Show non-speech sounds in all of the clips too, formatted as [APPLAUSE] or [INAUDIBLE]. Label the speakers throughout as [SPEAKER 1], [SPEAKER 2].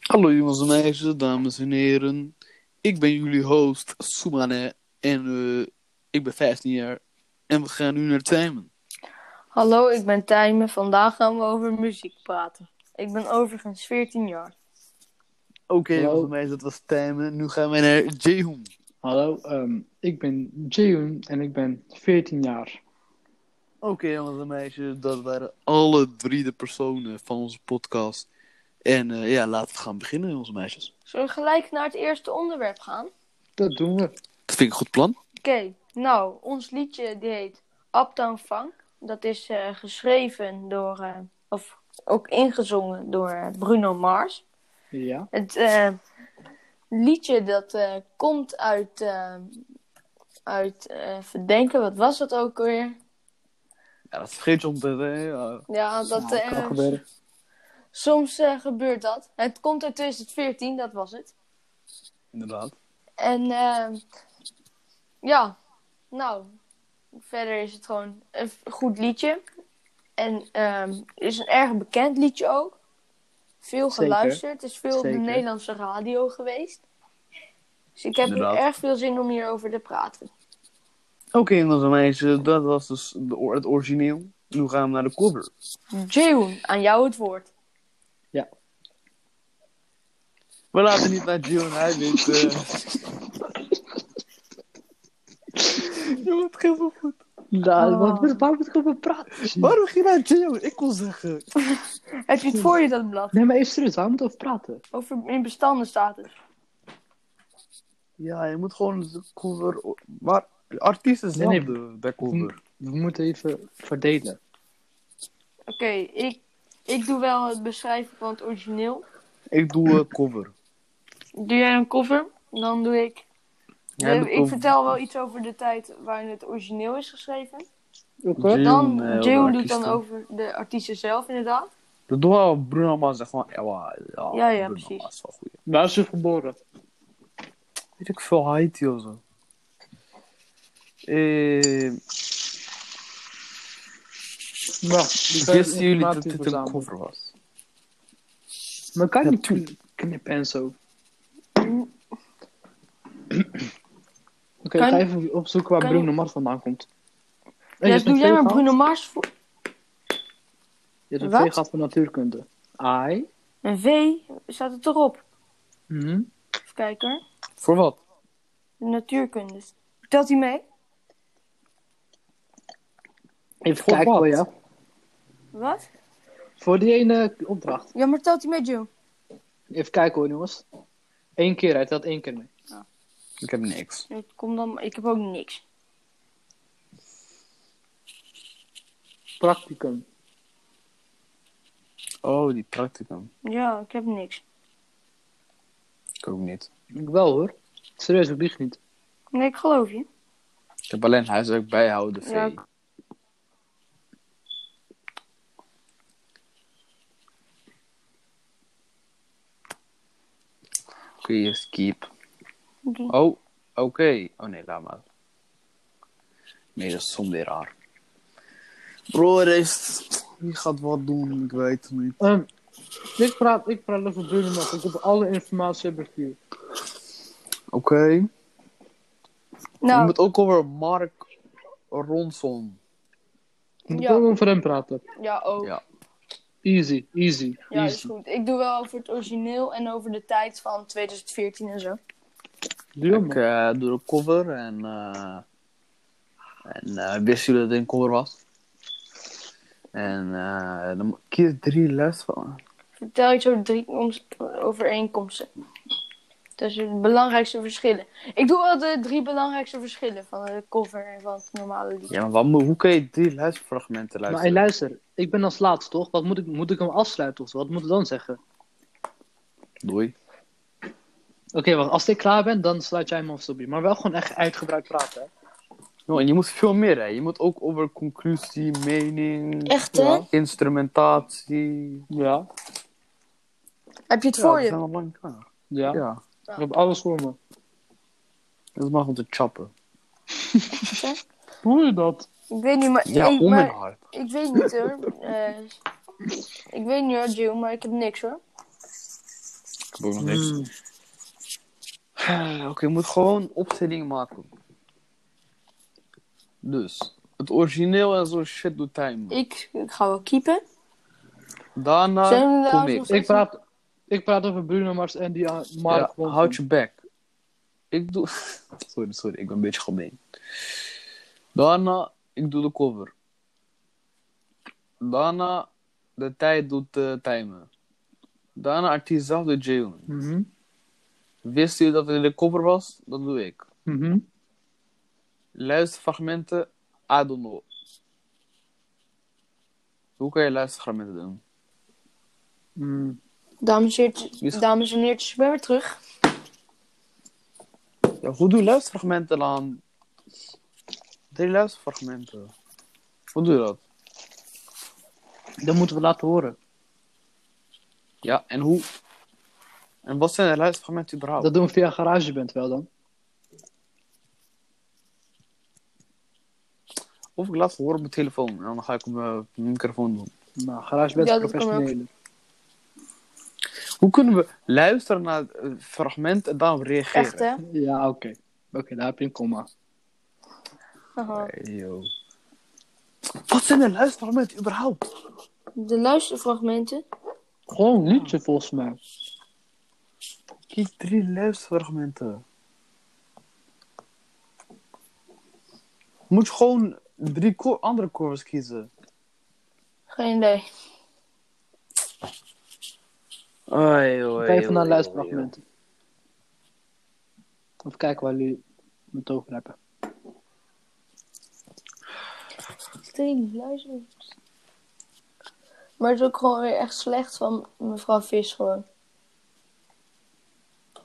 [SPEAKER 1] Hallo jongens en meisjes, dames en heren. Ik ben jullie host Soumane en eh, ik ben 15 jaar. En we gaan nu naar Tijmen.
[SPEAKER 2] Hallo, ik ben Tijmen. Vandaag gaan we over muziek praten. Ik ben overigens 14 jaar.
[SPEAKER 1] Oké
[SPEAKER 3] Hallo.
[SPEAKER 1] jongens en meisjes, dat was Tijmen. Nu gaan wij naar Jehoen.
[SPEAKER 3] Hallo, ehm, ik ben Jaehoon en ik ben 14 jaar.
[SPEAKER 1] Oké jongens en meisjes, dat waren alle drie de personen van onze podcast. En eh, ja, laten we gaan beginnen jongens en meisjes.
[SPEAKER 2] Zullen we gelijk naar het eerste onderwerp gaan? Oké,
[SPEAKER 3] Dat doen we.
[SPEAKER 1] Dat vind ik een goed plan.
[SPEAKER 2] nou, ons liedje die heet Uptown Funk. Dat is eh, geschreven door, eh, of ook ingezongen door eh, Bruno Mars.
[SPEAKER 3] Ja.
[SPEAKER 2] Het eh, liedje dat eh, komt uit, eh, uit eh, Verdenken, wat was dat ook alweer?
[SPEAKER 1] Ja, dat vergeet je om te zeggen.
[SPEAKER 2] Ja, dat
[SPEAKER 3] Nou, kan
[SPEAKER 2] eh,
[SPEAKER 3] gebeuren.
[SPEAKER 2] soms eh, gebeurt dat. Het komt uit 2014, dat was het.
[SPEAKER 1] Inderdaad.
[SPEAKER 2] En ehm, ja, nou, verder is het gewoon een f- goed liedje. En ehm, het is een erg bekend liedje ook. Veel
[SPEAKER 3] Zeker.
[SPEAKER 2] geluisterd, het is veel op
[SPEAKER 3] Zeker.
[SPEAKER 2] de Nederlandse radio geweest. Dus ik heb
[SPEAKER 1] Inderdaad.
[SPEAKER 2] erg veel zin om hierover te praten.
[SPEAKER 1] Oké jongens en meisjes, dat was dus de or- het origineel. Nu gaan we naar de cover.
[SPEAKER 2] June, aan jou het woord.
[SPEAKER 1] We laten niet naar June, hij eh. wint. Jongen, het gaat zo goed.
[SPEAKER 3] Nou,
[SPEAKER 2] Oh.
[SPEAKER 3] waarom- Waarom moet ik over praten?
[SPEAKER 1] Waarom ging naar June? Ik kon zeggen.
[SPEAKER 2] Heb je het voor je dat blad?
[SPEAKER 3] Nee, maar is serieus, waarom moet ik over praten?
[SPEAKER 2] Over in bestanden staat het.
[SPEAKER 1] Ja, je moet gewoon de cover. Maar de artiest is
[SPEAKER 3] Nee,
[SPEAKER 1] zelf
[SPEAKER 3] nee.
[SPEAKER 1] de bij cover.
[SPEAKER 3] We moeten even verdelen.
[SPEAKER 2] Oké, ik, ik doe wel het beschrijven van het origineel.
[SPEAKER 1] Ik doe eh, cover.
[SPEAKER 2] Doe jij een cover? Dan doe ik
[SPEAKER 1] Jij
[SPEAKER 2] Eh,
[SPEAKER 1] doet
[SPEAKER 2] ik
[SPEAKER 1] cover.
[SPEAKER 2] vertel wel iets over de tijd waarin het origineel is geschreven.
[SPEAKER 3] Oké.
[SPEAKER 1] June,
[SPEAKER 2] Dan,
[SPEAKER 1] eh, over
[SPEAKER 2] Jeroen doet
[SPEAKER 1] artiesten. Oh,
[SPEAKER 2] dan over de artiesten zelf, inderdaad.
[SPEAKER 1] Dat doen we al Bruno Mars. Zeg maar, ja, wa- ja,
[SPEAKER 2] Ja, ja,
[SPEAKER 1] Bruno
[SPEAKER 2] precies.
[SPEAKER 1] Mars is wel goed.
[SPEAKER 3] Waar is ze geboren?
[SPEAKER 1] Weet ik veel, Haiti of zo. Eh,
[SPEAKER 3] Wacht,
[SPEAKER 1] wisten jullie dat dit een cover was?
[SPEAKER 3] Maar kan je
[SPEAKER 1] Natuurlijk.
[SPEAKER 3] niet knippen en
[SPEAKER 2] [CLEARS THROAT]
[SPEAKER 3] zo. Oké,
[SPEAKER 2] Kan-
[SPEAKER 3] ga even opzoeken waar
[SPEAKER 2] kan
[SPEAKER 3] Bruno
[SPEAKER 2] je-
[SPEAKER 3] Mars vandaan komt. Hey, je
[SPEAKER 2] ja,
[SPEAKER 3] hebt
[SPEAKER 2] doe
[SPEAKER 3] een
[SPEAKER 2] jij
[SPEAKER 3] twee
[SPEAKER 2] maar
[SPEAKER 3] gehad?
[SPEAKER 2] Bruno Mars voor.
[SPEAKER 3] Je hebt een
[SPEAKER 2] Wat?
[SPEAKER 3] twee gehad van natuurkunde. Ai.
[SPEAKER 2] Een V staat het erop.
[SPEAKER 3] Mhm.
[SPEAKER 2] Even kijken hoor.
[SPEAKER 1] Voor wat?
[SPEAKER 2] De natuurkunde. Telt hij mee?
[SPEAKER 3] Even
[SPEAKER 1] Voor
[SPEAKER 3] kijken
[SPEAKER 1] wat?
[SPEAKER 3] hoor, ja.
[SPEAKER 2] Wat?
[SPEAKER 3] Voor die ene opdracht.
[SPEAKER 2] Ja, maar telt hij mee, Joe?
[SPEAKER 3] Even kijken hoor, jongens. Eén keer, hij telt één keer mee.
[SPEAKER 1] Ik heb niks.
[SPEAKER 2] Ik, kom dan... ik heb ook niks.
[SPEAKER 3] Practicum.
[SPEAKER 1] Oh, die practicum.
[SPEAKER 2] Ja, ik heb niks.
[SPEAKER 1] Ik ook niet.
[SPEAKER 3] Ik wel hoor. Serieus, ik lieg niet.
[SPEAKER 2] Nee, ik geloof je.
[SPEAKER 1] Ik heb alleen huiswerk bijhouden,
[SPEAKER 2] Ja.
[SPEAKER 1] Vee. Kun je skip?
[SPEAKER 2] Doe.
[SPEAKER 1] Oh, oké. Oh nee, laat maar. Nee, dat is soms weer raar. Broer, is- wie gaat wat doen? Ik weet het niet.
[SPEAKER 3] Ehm, ik, praat, ik praat over Bruno Mars. Ik heb alle informatie heb ik hier.
[SPEAKER 1] Oké. Je
[SPEAKER 2] Nou,
[SPEAKER 1] moet ook over Mark Ronson.
[SPEAKER 3] Ik moet
[SPEAKER 2] Ja.
[SPEAKER 3] ook over hem praten.
[SPEAKER 2] ja, ook.
[SPEAKER 1] Ja.
[SPEAKER 3] Easy, easy,
[SPEAKER 2] Ja, is
[SPEAKER 3] easy.
[SPEAKER 2] goed. Ik doe wel over het origineel en over de tijd van 2014 en zo.
[SPEAKER 3] Doe hem,
[SPEAKER 1] Ik
[SPEAKER 3] man.
[SPEAKER 1] eh, doe de cover en... eh, en eh, wisten jullie dat het een cover was? En eh dan moet- kies drie les van.
[SPEAKER 2] Vertel iets over drie oms- overeenkomsten. Dus de belangrijkste verschillen. Ik doe wel de drie belangrijkste verschillen van de cover en van het normale lied.
[SPEAKER 1] Ja, maar wat, moet- hoe kun je drie lesfragmenten
[SPEAKER 3] Maar
[SPEAKER 1] luisteren?
[SPEAKER 3] hey, luister, ik ben als laatst toch? Wat moet ik, moet ik hem afsluiten of zo? Wat moet ik dan zeggen?
[SPEAKER 1] Doei.
[SPEAKER 3] Oké, wacht. Als ik klaar ben, dan sluit jij hem af, Sobie. Maar wel gewoon echt uitgebreid praten. Hè?
[SPEAKER 1] Nou, en je moet veel meer, hè. Je moet ook over conclusie, mening...
[SPEAKER 2] Echt, hè?
[SPEAKER 1] ja, Instrumentatie...
[SPEAKER 3] Ja,
[SPEAKER 2] Heb je het
[SPEAKER 1] Ja,
[SPEAKER 2] voor
[SPEAKER 1] we
[SPEAKER 2] je?
[SPEAKER 1] zijn al lang klaar.
[SPEAKER 3] ja.
[SPEAKER 1] Ja,
[SPEAKER 3] Ik heb alles voor me.
[SPEAKER 1] dat mag om te chappen.
[SPEAKER 3] Hoe je dat?
[SPEAKER 2] Ik weet niet, maar,
[SPEAKER 1] Ja,
[SPEAKER 2] ik,
[SPEAKER 1] om en
[SPEAKER 2] maar-
[SPEAKER 1] hard.
[SPEAKER 2] ik weet niet [LAUGHS] hoor. Eh, ik weet niet hoor, Jill, maar ik heb niks hoor.
[SPEAKER 1] heb ook nog niks.
[SPEAKER 3] Hmm.
[SPEAKER 1] Oké, je moet gewoon opstellingen maken. Dus, het origineel en zo shit doet time.
[SPEAKER 2] Ik, ik ga wel keepen. Zijn we
[SPEAKER 1] Daarna
[SPEAKER 2] er
[SPEAKER 1] kom
[SPEAKER 2] ook
[SPEAKER 1] ik.
[SPEAKER 2] nog-
[SPEAKER 3] Ik praat, ik praat over Bruno Mars en die uh, Mark.
[SPEAKER 1] Ja,
[SPEAKER 3] Ronson.
[SPEAKER 1] houd je bek. Ik doe... [LAUGHS] Sorry, sorry, ik ben een beetje gemeen. Daarna, ik doe de cover. Daarna, de tijd doet eh timen. Daarna, artiest zelf doet Jalen.
[SPEAKER 3] Mhm,
[SPEAKER 1] Wist u dat het de cover was? Dat doe ik.
[SPEAKER 3] mhm.
[SPEAKER 1] Luisterfragmenten, I don't know. Hoe kan je luisterfragmenten doen?
[SPEAKER 3] Mm.
[SPEAKER 2] Dames en
[SPEAKER 1] Yes.
[SPEAKER 2] heertjes- dames en heertjes, ik ben weer terug.
[SPEAKER 1] Ja, hoe doe je luisterfragmenten dan? Drie luisterfragmenten. Hoe doe je dat?
[SPEAKER 3] Dat moeten we laten horen.
[SPEAKER 1] Ja, en hoe? En wat zijn de luisterfragmenten überhaupt?
[SPEAKER 3] Oh. Dat doen we via GarageBand wel dan.
[SPEAKER 1] Of ik laat het horen op mijn telefoon en dan ga ik op mijn microfoon doen.
[SPEAKER 3] Nou, GarageBand is
[SPEAKER 2] Ja, dat kan ook.
[SPEAKER 3] professioneel.
[SPEAKER 1] Hoe kunnen we luisteren naar eh, fragmenten en daarop reageren?
[SPEAKER 2] Echt, hè?
[SPEAKER 3] Ja, oké. Oké, daar heb je een komma.
[SPEAKER 2] Haha.
[SPEAKER 1] Hey, yo. Wat zijn de luisterfragmenten überhaupt?
[SPEAKER 2] De luisterfragmenten.
[SPEAKER 3] Gewoon liedje volgens mij.
[SPEAKER 1] Kies drie luisterfragmenten. Moet je gewoon drie co- andere covers kiezen.
[SPEAKER 2] Geen idee.
[SPEAKER 1] Oei, oei,
[SPEAKER 3] Kijk even naar
[SPEAKER 1] oei, oei,
[SPEAKER 3] luisterfragmenten. Of kijken waar jullie het over hebben.
[SPEAKER 2] Drie luister. Maar het is ook gewoon weer echt slecht van mevrouw Vis gewoon.
[SPEAKER 1] oei.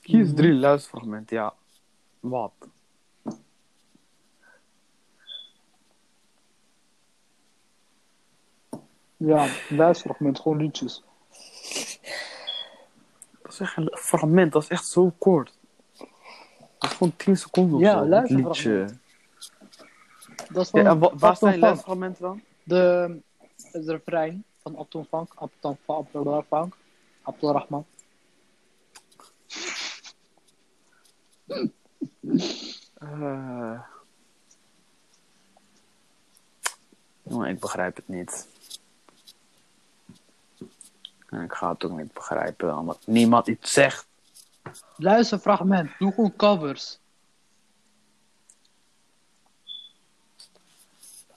[SPEAKER 1] Kies
[SPEAKER 3] Mhm.
[SPEAKER 1] drie luisterfragmenten, ja. Wat?
[SPEAKER 3] Ja, luisterfragment, gewoon liedjes.
[SPEAKER 1] Dat is echt een fragment, dat is echt zo kort. Dat is gewoon 10 seconden. of
[SPEAKER 3] Ja,
[SPEAKER 1] zo, dit
[SPEAKER 3] luisterfragment.
[SPEAKER 1] liedje.
[SPEAKER 3] Dat is
[SPEAKER 1] Ja,
[SPEAKER 3] van
[SPEAKER 1] en wa- waar
[SPEAKER 3] Uptown
[SPEAKER 1] zijn
[SPEAKER 3] Funk.
[SPEAKER 1] luisterfragmenten dan?
[SPEAKER 3] De, het refrein van Upton Funk, Upton Funk, Upton Funk, Upton Rahman.
[SPEAKER 1] Eh. Jongen, ik begrijp het niet. En ik ga het ook niet begrijpen, omdat niemand iets zegt.
[SPEAKER 3] Luisterfragment, doe gewoon covers.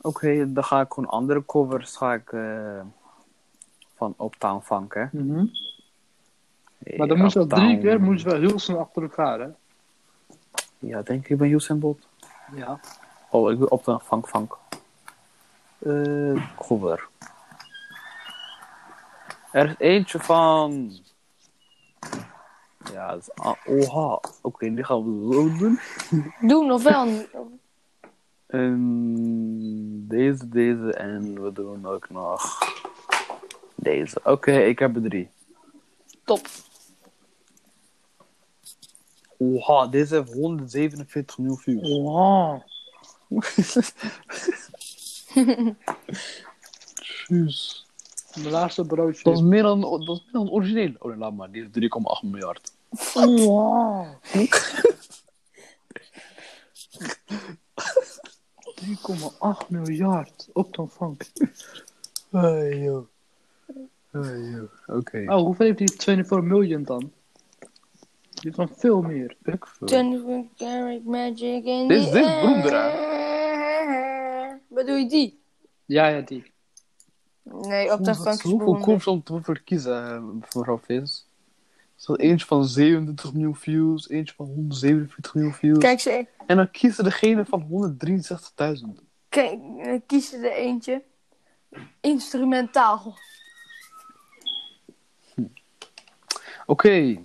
[SPEAKER 1] Oké, dan ga ik gewoon andere covers ga ik, eh, van Uptown Funk, hè.
[SPEAKER 3] Mhm. Maar dan moest je wel drie
[SPEAKER 1] Uptown-
[SPEAKER 3] keer moest je wel heel snel achter elkaar, hè?
[SPEAKER 1] Ja, denk ik ben Usain Bolt.
[SPEAKER 3] Ja.
[SPEAKER 1] Oh, ik wil op de Funk Funk. Eh, cover. Er is eentje van. Ja, dat is. ah, Oha. Oké, die gaan we zo doen.
[SPEAKER 2] Doen of wel? niet?
[SPEAKER 1] En deze, deze en we doen ook nog deze. Oké, ik heb er drie.
[SPEAKER 2] Top.
[SPEAKER 1] Oha, deze heeft 147 miljoen views.
[SPEAKER 3] Wow.
[SPEAKER 1] Jeez.
[SPEAKER 3] Mijn laatste broodje.
[SPEAKER 1] Dat is meer dan, dat is meer dan origineel. Oh, laat maar, die heeft 3,8 miljard.
[SPEAKER 3] Wow. [LAUGHS] 3,8 miljard op de funk.
[SPEAKER 1] Hey, joh. Oké.
[SPEAKER 3] Oh, hoeveel heeft die 24 miljoen dan? Die heeft nog veel meer.
[SPEAKER 1] Ik veel.
[SPEAKER 2] 24 karat magic in
[SPEAKER 1] Dit is
[SPEAKER 2] the
[SPEAKER 1] dit,
[SPEAKER 2] air.
[SPEAKER 1] broeder,
[SPEAKER 2] Bedoel je die?
[SPEAKER 3] Ja, ja, die.
[SPEAKER 2] Nee, op de
[SPEAKER 1] Oeh, wat
[SPEAKER 2] fuck
[SPEAKER 1] Zoveel koers om te verkiezen, eh, mevrouw Vis. Er staat eentje van 37 miljoen views, eentje van 147 miljoen views.
[SPEAKER 2] Kijk, ze
[SPEAKER 1] En dan kiezen degene van 163.000.
[SPEAKER 2] kijk, eh, kiezen er eentje. Instrumentaal.
[SPEAKER 1] Oké.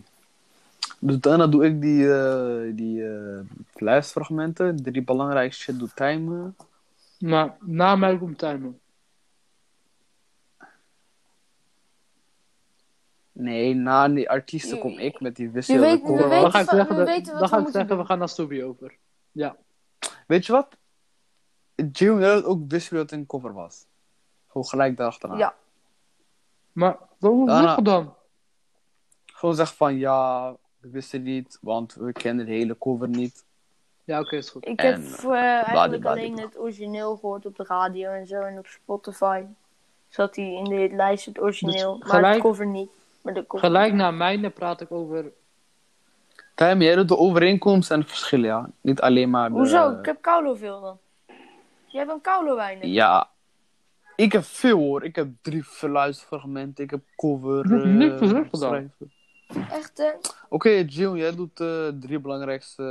[SPEAKER 1] Dus daarna doe ik die, eh die eh lijstfragmenten. Drie belangrijkste shit doet timen.
[SPEAKER 3] Maar na mij komt Tijmen.
[SPEAKER 1] Nee, na die artiesten
[SPEAKER 2] Je-
[SPEAKER 1] kom ik met die
[SPEAKER 2] je
[SPEAKER 1] wissel.
[SPEAKER 2] weet- je
[SPEAKER 1] Weet,
[SPEAKER 2] weet-
[SPEAKER 3] Dan ga ik
[SPEAKER 2] van-
[SPEAKER 3] zeggen,
[SPEAKER 2] we
[SPEAKER 3] dat-
[SPEAKER 2] weten wat
[SPEAKER 3] dan
[SPEAKER 2] we
[SPEAKER 3] ga ik
[SPEAKER 2] moeten
[SPEAKER 3] zeggen we
[SPEAKER 2] doen.
[SPEAKER 3] gaan naar Subi over. Ja.
[SPEAKER 1] weet je wat? Jim dat het ook wist hoe dat een cover was. Ah. Gewoon gelijk daarachteraan.
[SPEAKER 2] Ja.
[SPEAKER 3] Maar wat moet
[SPEAKER 1] Daarna-
[SPEAKER 3] nog dan?
[SPEAKER 1] Gewoon zeg van ja, we wisten niet, want we kennen de hele cover niet.
[SPEAKER 3] Ja, oké, is goed.
[SPEAKER 2] Ik
[SPEAKER 1] En,
[SPEAKER 2] heb eh, eigenlijk
[SPEAKER 1] bladibla.
[SPEAKER 2] alleen het origineel gehoord op de radio en zo en op Spotify. Zat hij in de hitlijst het origineel,
[SPEAKER 3] Dus
[SPEAKER 2] maar
[SPEAKER 3] gelijk-
[SPEAKER 2] de cover niet. Maar de cover
[SPEAKER 3] Gelijk na mijne praat ik over...
[SPEAKER 1] Tim, jij doet de overeenkomst en het verschil, ja. Niet alleen maar de...
[SPEAKER 2] Hoezo?
[SPEAKER 3] Eh,
[SPEAKER 2] Ik heb Kaulo veel dan. Jij hebt een Kaulo weinig.
[SPEAKER 1] Ja. Ik heb veel hoor. Ik heb drie verluisterfragmenten. Ik heb cover.
[SPEAKER 3] Dat heb ik
[SPEAKER 1] eh,
[SPEAKER 3] niet gezegd dan.
[SPEAKER 1] schrijven.
[SPEAKER 2] Echt eh,
[SPEAKER 1] Oké, Jill, jij doet eh drie belangrijkste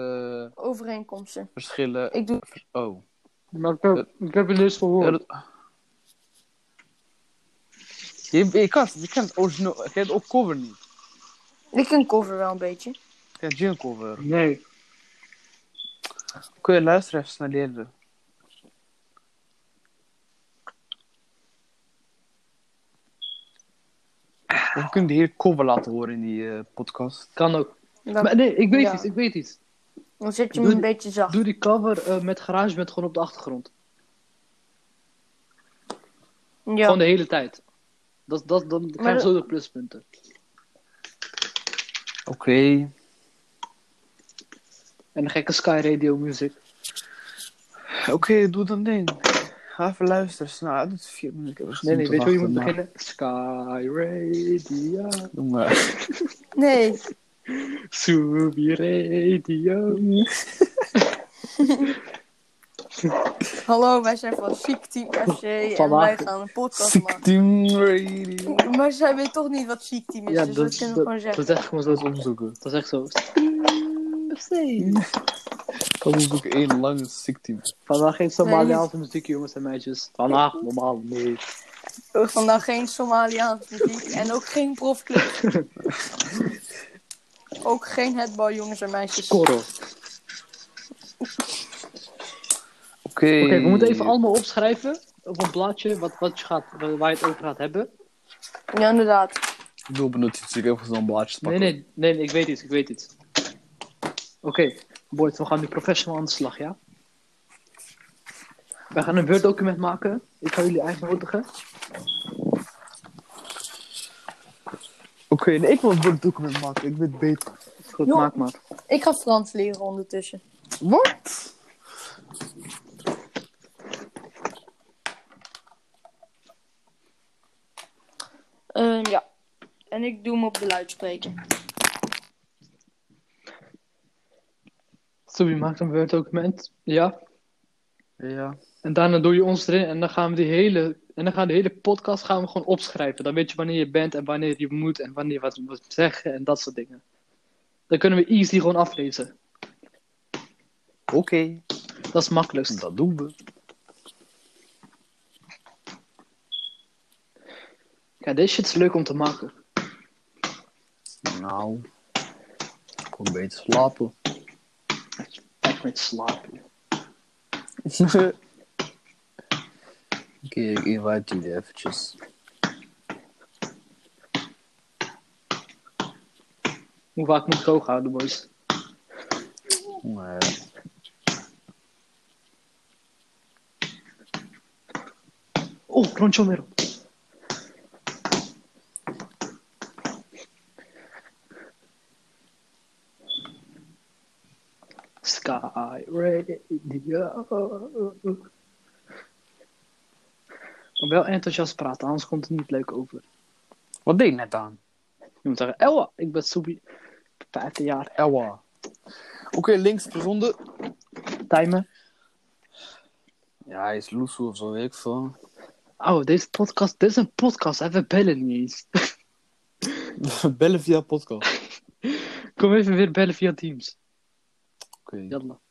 [SPEAKER 1] eh,
[SPEAKER 2] overeenkomsten.
[SPEAKER 1] verschillen.
[SPEAKER 2] Ik doe...
[SPEAKER 1] Oh.
[SPEAKER 3] Maar ik heb, ik heb het dus
[SPEAKER 1] Jij
[SPEAKER 3] gehoord.
[SPEAKER 1] doet- Je, je, kan, je kan het origineel. Je kent ook cover niet.
[SPEAKER 2] Ik ken cover wel een beetje.
[SPEAKER 1] Je kent Jill cover.
[SPEAKER 3] Nee.
[SPEAKER 1] Kun je luisteren even naar leren? We kunnen de heer cover laten horen in die eh, podcast.
[SPEAKER 3] Kan ook.
[SPEAKER 2] Dan,
[SPEAKER 3] Maar nee, ik weet
[SPEAKER 2] Ja.
[SPEAKER 3] iets, ik weet iets.
[SPEAKER 2] dan zet je
[SPEAKER 3] Doe
[SPEAKER 2] hem een
[SPEAKER 3] die-
[SPEAKER 2] beetje zacht.
[SPEAKER 3] Doe die cover eh, met garage met gewoon op de achtergrond.
[SPEAKER 2] ja.
[SPEAKER 3] Gewoon de hele tijd. Dat, dat, dan krijg je
[SPEAKER 2] dat-
[SPEAKER 3] zo de pluspunten.
[SPEAKER 1] Oké.
[SPEAKER 3] En gekke Sky Radio music.
[SPEAKER 1] Oké, doe dan ding. Ga even luisteren, snel. Het is vier minuten. Ik heb
[SPEAKER 3] Nee, nee, weet je hoe je moet
[SPEAKER 1] wachten,
[SPEAKER 3] beginnen? Sky Radio,
[SPEAKER 1] maar- Jongen.
[SPEAKER 2] Nee,
[SPEAKER 3] Subi Radio.
[SPEAKER 2] hallo, wij zijn van Chic Team FC en wij
[SPEAKER 3] Vandaag.
[SPEAKER 2] gaan een podcast
[SPEAKER 1] Sick Team Radio.
[SPEAKER 2] maken. Maar zij weet toch niet wat Chic Team is,
[SPEAKER 3] Ja,
[SPEAKER 2] dus
[SPEAKER 3] dat,
[SPEAKER 2] dat, kunnen we
[SPEAKER 3] dat,
[SPEAKER 2] gewoon
[SPEAKER 3] dat
[SPEAKER 2] zeggen.
[SPEAKER 3] is echt gewoon zo.
[SPEAKER 1] Opzoeken.
[SPEAKER 3] Dat is echt zo.
[SPEAKER 1] Dan moet ik één lange Sick Team.
[SPEAKER 3] Vandaag geen Somaliaanse muziek, jongens en meisjes. Vandaag normaal niet.
[SPEAKER 2] Vandaag geen Somaliaans muziek en ook geen profclub.
[SPEAKER 3] [LAUGHS]
[SPEAKER 2] ook geen headball, jongens en meisjes.
[SPEAKER 3] Korrel. Oké,
[SPEAKER 1] Oké.
[SPEAKER 3] we moeten even allemaal opschrijven op een blaadje wat, wat je gaat, waar je het over gaat hebben.
[SPEAKER 2] Ja, inderdaad.
[SPEAKER 1] Ik doe op een notitie, ik heb even zo'n blaadje te
[SPEAKER 3] Nee,
[SPEAKER 1] pakken.
[SPEAKER 3] nee, nee, nee, ik weet iets, ik weet iets. Oké, boys, we gaan nu professional aan de slag, ja? We gaan een Word-document maken. Ik ga jullie uitnodigen.
[SPEAKER 1] Oké, nee, ik wil een document maken. Ik weet beter.
[SPEAKER 3] Is Goed,
[SPEAKER 2] Jo.
[SPEAKER 3] maak maar.
[SPEAKER 2] Ik ga Frans leren ondertussen.
[SPEAKER 1] Wat?
[SPEAKER 2] Eh, ja. En ik doe hem op de luidspreker.
[SPEAKER 3] Zo, je maakt een Word-document, ja.
[SPEAKER 1] Ja.
[SPEAKER 3] En daarna doe je ons erin en dan gaan we die hele, en dan gaan we de hele podcast gaan we gewoon opschrijven. Dan weet je wanneer je bent en wanneer je moet en wanneer je wat moet zeggen en dat soort dingen. Dan kunnen we easy gewoon aflezen.
[SPEAKER 1] Oké.
[SPEAKER 3] Dat is het makkelijkst.
[SPEAKER 1] Dat doen we.
[SPEAKER 3] Ja, deze shit is leuk om te maken.
[SPEAKER 1] Nou. Ik kon beter [LAUGHS] slapen.
[SPEAKER 3] Echt met slaap.
[SPEAKER 1] Oké, ik invite jullie eventjes.
[SPEAKER 3] Hoe vaak moet ik hoog houden, boys?
[SPEAKER 1] Maar,
[SPEAKER 3] Oh, Roncho Mero. Sky Radio. Maar wel enthousiast praten, anders komt het niet leuk over.
[SPEAKER 1] Wat deed ik net aan?
[SPEAKER 3] Je moet zeggen, Ewa, ik ben Subi. Vijfde jaar.
[SPEAKER 1] Ewa. Oké, links gezonde.
[SPEAKER 3] Timen.
[SPEAKER 1] Ja, hij is loesoe of zo, weet ik veel.
[SPEAKER 3] Oh, deze podcast, dit is een podcast, hè? we bellen niet eens.
[SPEAKER 1] [LAUGHS] Bellen via podcast.
[SPEAKER 3] Kom even weer bellen via Teams.
[SPEAKER 1] Oké.
[SPEAKER 3] Jalla.